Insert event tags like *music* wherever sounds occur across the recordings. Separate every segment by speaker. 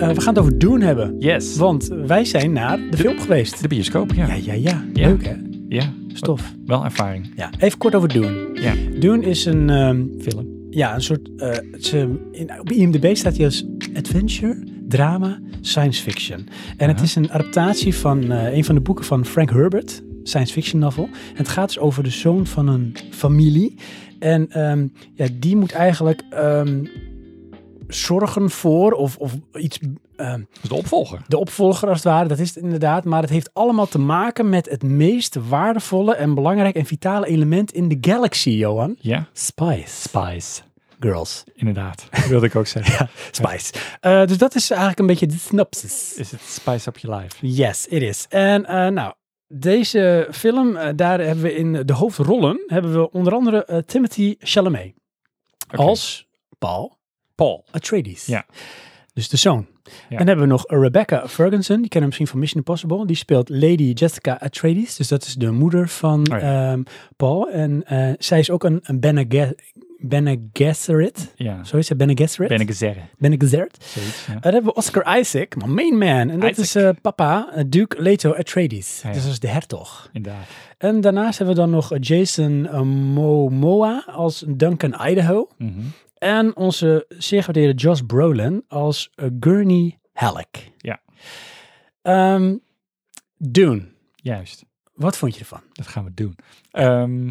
Speaker 1: Eh, we gaan het over Dune hebben.
Speaker 2: Yes.
Speaker 1: Want wij zijn naar de, film geweest.
Speaker 2: De bioscoop, ja.
Speaker 1: ja, ja, ja.
Speaker 2: Ja.
Speaker 1: Leuk hè?
Speaker 2: Ja.
Speaker 1: Stof.
Speaker 2: Wel ervaring.
Speaker 1: Ja. Even kort over Dune.
Speaker 2: Ja.
Speaker 1: Dune is een, ehm,
Speaker 2: Film.
Speaker 1: ja, een soort... eh, het is, ehm, in, op IMDb staat hij als adventure, drama, science fiction. En het
Speaker 2: Aha.
Speaker 1: is een adaptatie van eh, een van de boeken van Frank Herbert. Science fiction novel. En het gaat dus over de zoon van een familie. En ehm, ja, die moet eigenlijk ehm, zorgen voor of, of iets... ehm,
Speaker 2: Dat is de opvolger.
Speaker 1: de opvolger als het ware, dat is het inderdaad. Maar het heeft allemaal te maken met het meest waardevolle en belangrijk en vitale element in de galaxy, Johan.
Speaker 2: Ja.
Speaker 1: Spice.
Speaker 2: Spice.
Speaker 1: *laughs* Girls.
Speaker 2: Inderdaad. Dat *laughs* wilde ik ook zeggen.
Speaker 1: Spice. Eh, dus dat is eigenlijk een beetje de synopsis.
Speaker 2: Is het Spice Up Your Life?
Speaker 1: Yes, it is. En eh, nou, deze film, eh, daar hebben we in de hoofdrollen, hebben we onder andere eh, Timothy Chalamet.
Speaker 2: Oké.
Speaker 1: Als Paul
Speaker 2: Paul.
Speaker 1: Atreides.
Speaker 2: Ja.
Speaker 1: Dus de zoon. En dan hebben we nog Rebecca Ferguson. Die kennen we misschien van Mission Impossible. Die speelt Lady Jessica Atreides. Dus dat is de moeder van
Speaker 2: Oh ja.
Speaker 1: ehm, Paul. En eh, zij is ook een, een Bene, Ge- Bene Gesserit.
Speaker 2: Ja.
Speaker 1: Zo is ze, Bene Gesserit?
Speaker 2: Ben ik zeggen.
Speaker 1: Bene Gesserit.
Speaker 2: Zoiets, ja.
Speaker 1: En Eh, dan hebben we Oscar Isaac, my main man. En dat
Speaker 2: Isaac.
Speaker 1: is eh, papa, eh, Duke Leto Atreides.
Speaker 2: ja.
Speaker 1: Dus dat is de hertog.
Speaker 2: Inderdaad.
Speaker 1: En daarnaast hebben we dan nog Jason eh, Momoa als Duncan Idaho.
Speaker 2: Mhm.
Speaker 1: En onze zeer gewaardeerde Josh Brolin als eh, Gurney Halleck.
Speaker 2: Ja.
Speaker 1: Ehm, Dune,
Speaker 2: Juist.
Speaker 1: wat vond je ervan?
Speaker 2: Dat gaan we doen. Ehm,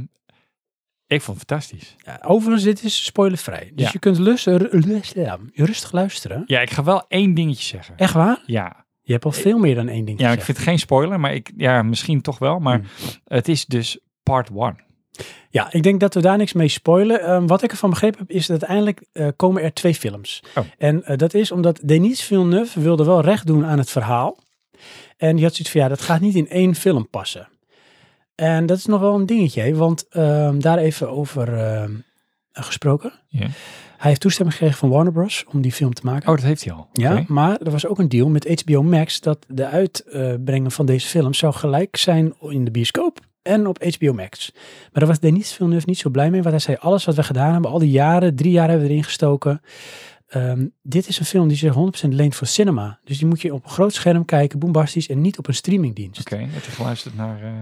Speaker 2: ik vond het fantastisch.
Speaker 1: Ja, overigens, dit is spoilervrij. Dus
Speaker 2: Ja.
Speaker 1: je kunt lus- ru- lus- ja, rustig luisteren.
Speaker 2: Ja, ik ga wel één dingetje zeggen.
Speaker 1: Echt waar?
Speaker 2: Ja.
Speaker 1: Je hebt al veel meer dan één ding
Speaker 2: Ja, ik
Speaker 1: gezegd.
Speaker 2: vind het geen spoiler, maar ik, ja, misschien toch wel. Maar
Speaker 1: Hmm.
Speaker 2: het is dus part one.
Speaker 1: Ja, ik denk dat we daar niks mee spoilen. Ehm, wat ik ervan begrepen heb, is dat uiteindelijk eh, komen er twee films.
Speaker 2: Oh.
Speaker 1: En eh, dat is omdat Denis Villeneuve wilde wel recht doen aan het verhaal. En die had zoiets van, ja, dat gaat niet in één film passen. En dat is nog wel een dingetje, hè, want ehm, daar even over ehm, gesproken.
Speaker 2: Ja.
Speaker 1: Hij heeft toestemming gekregen van Warner Bros. om die film te maken.
Speaker 2: Oh, dat heeft hij al.
Speaker 1: Ja,
Speaker 2: Oké.
Speaker 1: maar er was ook een deal met HBO Max dat de uitbrengen van deze film zou gelijk zijn in de bioscoop en op HBO Max. Maar daar was Denis Villeneuve niet zo blij mee, want hij zei alles wat we gedaan hebben, al die jaren, drie jaar hebben we erin gestoken. ehm, dit is een film die zich 100% leent voor cinema. Dus die moet je op een groot scherm kijken, boombastisch, en niet op een streamingdienst.
Speaker 2: Oké, heb je geluisterd naar eh,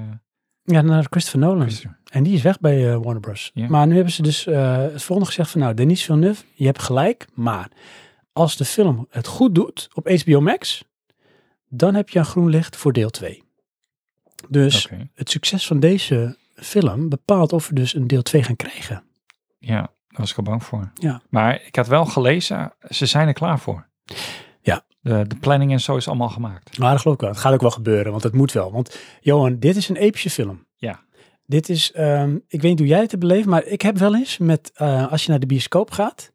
Speaker 1: Ja, naar Christopher Nolan.
Speaker 2: Christopher?
Speaker 1: En die is weg bij eh, Warner Bros.
Speaker 2: Ja.
Speaker 1: Maar nu hebben ze dus eh, het volgende gezegd van nou, Denis Villeneuve, je hebt gelijk, maar als de film het goed doet op HBO Max, dan heb je een groen licht voor deel 2. Dus
Speaker 2: Oké,
Speaker 1: het succes van deze film bepaalt of we dus een deel 2 gaan krijgen.
Speaker 2: ja, daar was ik al bang voor.
Speaker 1: Ja.
Speaker 2: Maar ik had wel gelezen, ze zijn er klaar voor.
Speaker 1: Ja.
Speaker 2: De, de planning en zo is allemaal gemaakt.
Speaker 1: Maar dat geloof ik wel. Het gaat ook wel gebeuren, want het moet wel. Want Johan, dit is een epische film.
Speaker 2: Ja.
Speaker 1: Dit is, ehm, ik weet niet hoe jij het hebt beleefd, maar ik heb wel eens met, eh, als je naar de bioscoop gaat,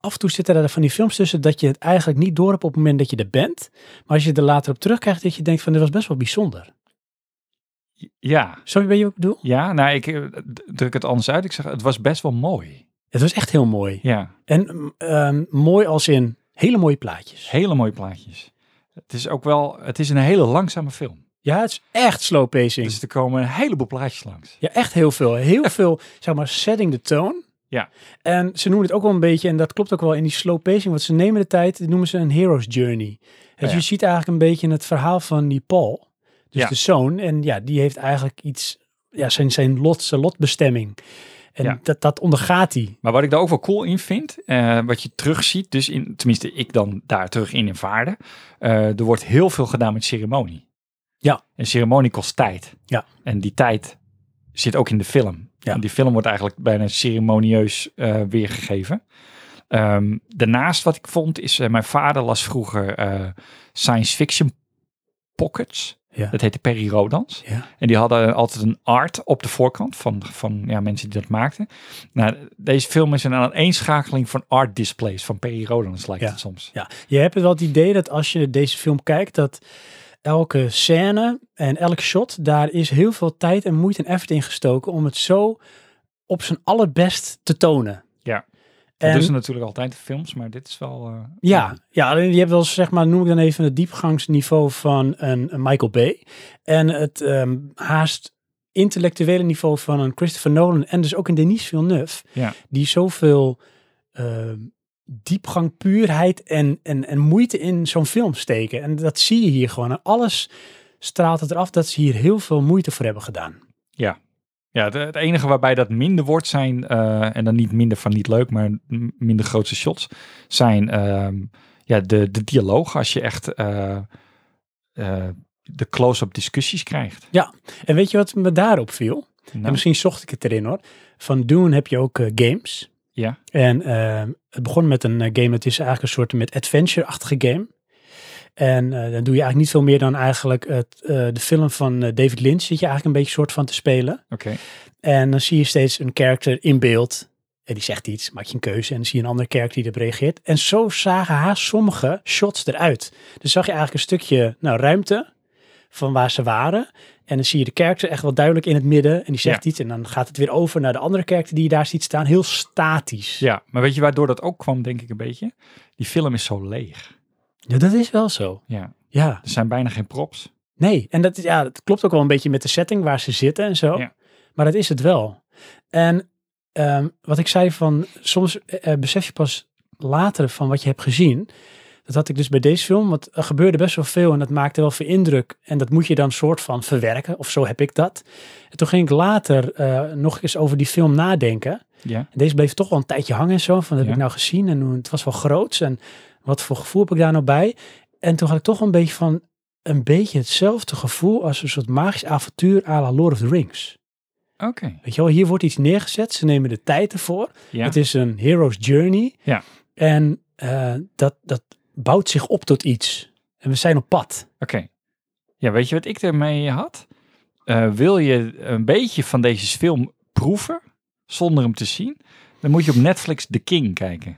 Speaker 1: af en toe zitten er van die films tussen dat je het eigenlijk niet door hebt op het moment dat je er bent. Maar als je er later op terugkijkt, dat je denkt van dit was best wel bijzonder.
Speaker 2: Ja.
Speaker 1: Zo ben je ook bedoel?
Speaker 2: Ja, nou, ik eh, d- druk het anders uit. Ik zeg, het was best wel mooi.
Speaker 1: Het was echt heel mooi.
Speaker 2: Ja,
Speaker 1: En mm, ehm, mooi als in hele mooie plaatjes.
Speaker 2: hele mooie plaatjes. Het is ook wel, het is een hele langzame film.
Speaker 1: Ja, het is echt slow pacing.
Speaker 2: Dus er komen een heleboel plaatjes langs.
Speaker 1: Ja, echt heel veel.
Speaker 2: *laughs*
Speaker 1: Heel veel, zeg maar, setting de toon.
Speaker 2: Ja.
Speaker 1: En ze noemen het ook wel een beetje, en dat klopt ook wel in die slow pacing, want ze nemen de tijd, dit noemen ze een hero's journey. Dus
Speaker 2: Ja.
Speaker 1: je ziet eigenlijk een beetje het verhaal van die Paul, dus
Speaker 2: Ja.
Speaker 1: de zoon. En ja, die heeft eigenlijk iets, ja, zijn, zijn lot, zijn lotbestemming. En
Speaker 2: Ja.
Speaker 1: dat, dat ondergaat hij.
Speaker 2: Maar wat ik daar ook wel cool in vind, eh, wat je terugziet, dus in, tenminste ik dan daar terug in ervaarde, eh er wordt heel veel gedaan met ceremonie.
Speaker 1: Ja.
Speaker 2: En ceremonie kost tijd.
Speaker 1: Ja.
Speaker 2: En die tijd zit ook in de film.
Speaker 1: Ja.
Speaker 2: En die film wordt eigenlijk bijna ceremonieus eh, weergegeven. Ehm, daarnaast wat ik vond is, eh, mijn vader las vroeger eh, science fiction pockets.
Speaker 1: Ja.
Speaker 2: Dat heette Perry Rodans.
Speaker 1: Ja.
Speaker 2: En die hadden altijd een art op de voorkant van, van ja, mensen die dat maakten. Nou, deze film is een aaneenschakeling van art displays van P.I. Rodans lijkt
Speaker 1: Ja.
Speaker 2: het soms.
Speaker 1: ja. Je hebt wel het idee dat als je deze film kijkt, dat elke scène en elk shot, daar is heel veel tijd en moeite en effort in gestoken om het zo op zijn allerbest te tonen.
Speaker 2: Ja.
Speaker 1: En,
Speaker 2: Dat is natuurlijk altijd in films, maar dit is wel... eh,
Speaker 1: ja, ja, alleen je hebt wel, zeg maar, noem ik dan even het diepgangsniveau van een, een Michael Bay. En het ehm, haast intellectuele niveau van een Christopher Nolan en dus ook een Denis Villeneuve,
Speaker 2: Ja.
Speaker 1: die zoveel ehm, diepgang, puurheid en, en, en moeite in zo'n film steken. En dat zie je hier gewoon. En alles straalt het eraf dat ze hier heel veel moeite voor hebben gedaan.
Speaker 2: Ja, het, het enige waarbij dat minder wordt zijn, eh, en dan niet minder van niet leuk, maar m- minder grootse shots, zijn ehm, ja, de, de dialoog als je echt eh, eh, de close-up discussies krijgt.
Speaker 1: En weet je wat me daarop viel?
Speaker 2: Nou,
Speaker 1: En misschien zocht ik het erin hoor. Van Dune heb je ook eh, games.
Speaker 2: Ja.
Speaker 1: En eh, het begon met een eh, game, het is eigenlijk een soort met adventure-achtige game. En eh, dan doe je eigenlijk niet veel meer dan eigenlijk het, eh, de film van eh, David Lynch zit je eigenlijk een beetje soort van te spelen.
Speaker 2: Oké,
Speaker 1: En dan zie je steeds een karakter in beeld. En die zegt iets, maak je een keuze. En dan zie je een andere karakter die erop reageert. En zo zagen haar sommige shots eruit. Dus zag je eigenlijk een stukje nou, ruimte van waar ze waren. En dan zie je de karakter echt wel duidelijk in het midden. En die zegt iets. En dan gaat het weer over naar de andere karakter die je daar ziet staan. Heel statisch.
Speaker 2: ja, maar weet je waardoor dat ook kwam, denk ik een beetje? Die film is zo leeg.
Speaker 1: Ja, dat is wel zo.
Speaker 2: Ja,
Speaker 1: Ja.
Speaker 2: er zijn bijna geen props.
Speaker 1: Nee, en dat, is- ja, dat klopt ook wel een beetje met de setting waar ze zitten en zo.
Speaker 2: Ja.
Speaker 1: Maar dat is het wel. En ehm, wat ik zei van, soms eh, eh, besef je pas later van wat je hebt gezien. Dat had ik dus bij deze film, want er gebeurde best wel veel en dat maakte wel veel indruk. En dat moet je dan soort van verwerken, of zo heb ik dat. En toen ging ik later eh, nog eens over die film nadenken.
Speaker 2: Ja,
Speaker 1: En deze bleef toch wel een tijdje hangen en zo. Van, dat heb
Speaker 2: Ja.
Speaker 1: ik nou gezien? En hoe- het was wel groots. En wat voor gevoel heb ik daar nou bij? En toen had ik toch wel een beetje van... Een beetje hetzelfde gevoel als een soort magisch avontuur à la Lord of the Rings.
Speaker 2: oké.
Speaker 1: Weet je wel, hier wordt iets neergezet. Ze nemen de tijd ervoor.
Speaker 2: Ja.
Speaker 1: Het is een hero's journey.
Speaker 2: Ja.
Speaker 1: En eh, dat, dat bouwt zich op tot iets. En we zijn op pad.
Speaker 2: Oké. Ja, weet je wat ik ermee had? Eh, wil je een beetje van deze film proeven, zonder hem te zien? Dan moet je op Netflix The King kijken.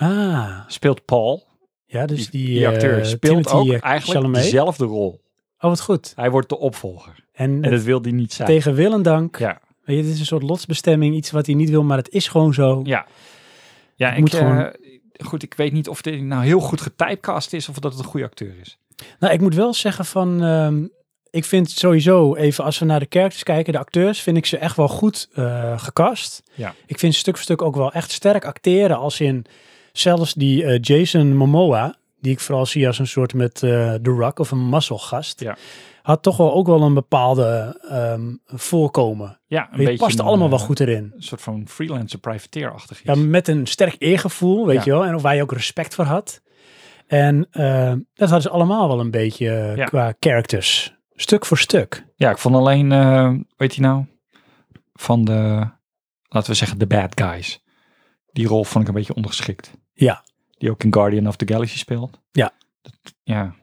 Speaker 1: Ah,
Speaker 2: Speelt Paul,
Speaker 1: ja, dus
Speaker 2: die,
Speaker 1: die,
Speaker 2: die acteur,
Speaker 1: eh,
Speaker 2: speelt
Speaker 1: Timothy,
Speaker 2: ook
Speaker 1: eh,
Speaker 2: eigenlijk
Speaker 1: Chalamet.
Speaker 2: dezelfde rol.
Speaker 1: Oh, wat goed.
Speaker 2: Hij wordt de opvolger.
Speaker 1: En,
Speaker 2: En dat wil hij niet zijn.
Speaker 1: tegen wil en dank.
Speaker 2: Ja.
Speaker 1: Weet je, het is een soort lotsbestemming, iets wat hij niet wil, maar het is gewoon zo.
Speaker 2: Ja, ja
Speaker 1: Het
Speaker 2: ik,
Speaker 1: moet
Speaker 2: eh,
Speaker 1: gewoon-
Speaker 2: goed, ik weet niet of dit nou heel goed getypecast is of dat het een goede acteur is.
Speaker 1: Nou, ik moet wel zeggen van, ehm, ik vind sowieso even als we naar de characters kijken, de acteurs, vind ik ze echt wel goed eh, gecast.
Speaker 2: Ja.
Speaker 1: Ik vind stuk voor stuk ook wel echt sterk acteren, als in zelfs die eh, Jason Momoa, die ik vooral zie als een soort met eh The Rock of een mazzelgast,
Speaker 2: Ja.
Speaker 1: had toch wel ook wel een bepaalde ehm, voorkomen.
Speaker 2: Ja, een
Speaker 1: Het
Speaker 2: beetje
Speaker 1: past
Speaker 2: een,
Speaker 1: allemaal wel
Speaker 2: eh,
Speaker 1: goed erin.
Speaker 2: Een soort van freelancer privateer-achtig iets.
Speaker 1: Ja, met een sterk eergevoel, weet
Speaker 2: Ja.
Speaker 1: je wel. En waar je ook respect voor had. En eh, dat hadden ze allemaal wel een beetje eh,
Speaker 2: Ja.
Speaker 1: qua characters. Stuk voor stuk.
Speaker 2: Ja, ik vond alleen, eh weet je nou, van de, laten we zeggen, de bad guys. Die rol vond ik een beetje ondergeschikt.
Speaker 1: Ja.
Speaker 2: Die ook in Guardian of the Galaxy speelt.
Speaker 1: Ja.
Speaker 2: Dat- ja.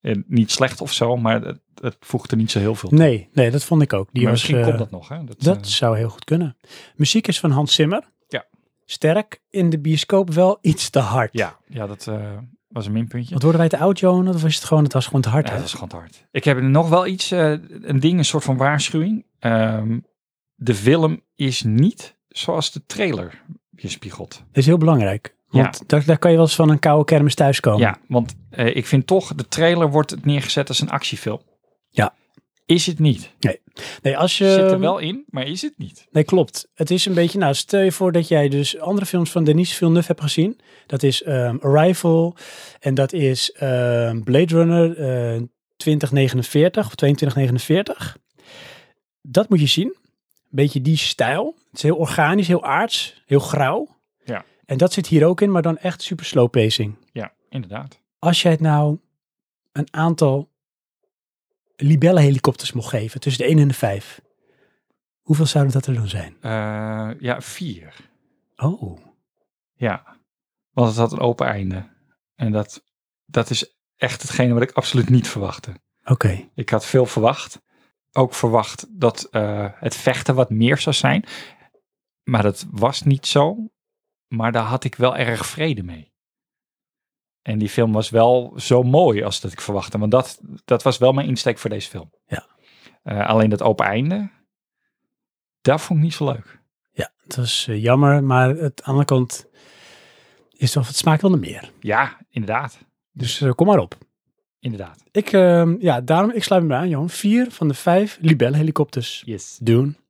Speaker 2: En niet sleegt of zo, maar het, het voegde niet zo heel veel toe.
Speaker 1: Nee, nee, dat vond ik ook. Die
Speaker 2: maar
Speaker 1: was,
Speaker 2: misschien
Speaker 1: eh,
Speaker 2: komt dat nog, hè? Dat,
Speaker 1: dat
Speaker 2: eh,
Speaker 1: zou heel goed kunnen. Muziek is van Hans Zimmer.
Speaker 2: Ja.
Speaker 1: Sterk in de bioscoop wel iets te hard.
Speaker 2: ja, ja, dat eh, was een minpuntje.
Speaker 1: Want worden wij te oud, Johan? Of is het gewoon, het was gewoon te hard?
Speaker 2: Ja,
Speaker 1: hè?
Speaker 2: dat is gewoon te hard. Ik heb nog wel iets, eh, een ding, een soort van waarschuwing. Ehm, de film is niet zoals de trailer weerspiegelt.
Speaker 1: Dat is heel belangrijk.
Speaker 2: Ja.
Speaker 1: Want daar, daar kan je wel eens van een koude kermis thuiskomen.
Speaker 2: Ja, want eh, ik vind toch, de trailer wordt het neergezet als een actiefilm.
Speaker 1: Ja.
Speaker 2: Is het niet.
Speaker 1: Nee, als je...
Speaker 2: Zit er wel in, maar is het niet.
Speaker 1: Nee, klopt. Het is een beetje, nou, stel je voor dat jij dus andere films van Denis Villeneuve hebt gezien. Dat is ehm, Arrival en dat is ehm, Blade Runner eh, 2049 of 2249. Dat moet je zien. Beetje die stijl. Het is heel organisch, heel aards, heel grauw.
Speaker 2: Ja.
Speaker 1: En dat zit hier ook in, maar dan echt super slow pacing.
Speaker 2: Ja, inderdaad.
Speaker 1: Als jij het nou een aantal libellenhelikopters mocht geven, tussen de 1 en de 5. Hoeveel zouden dat er dan zijn?
Speaker 2: Eh, ja, vier.
Speaker 1: Oh.
Speaker 2: Ja. Want het had een open einde. En dat, dat is echt hetgene wat ik absoluut niet verwachtte.
Speaker 1: Oké.
Speaker 2: Ik had veel verwacht. Ook verwacht dat eh, het vechten wat meer zou zijn. Maar dat was niet zo. Maar daar had ik wel erg vrede mee. En die film was wel zo mooi als dat ik verwachtte. Want dat, dat was wel mijn insteek voor deze film.
Speaker 1: Ja.
Speaker 2: Eh, alleen dat open einde, dat vond ik niet zo leuk.
Speaker 1: Ja, het was eh, jammer, maar het, aan de andere kant is toch, het smaakt wel naar meer.
Speaker 2: Ja, inderdaad.
Speaker 1: Dus eh, kom maar op. eh,
Speaker 2: Inderdaad.
Speaker 1: Ik, ehm, ja, daarom, ik sluit me bij aan, Johan. Vier van de vijf libellenhelikopters.
Speaker 2: Yes.
Speaker 1: Doen.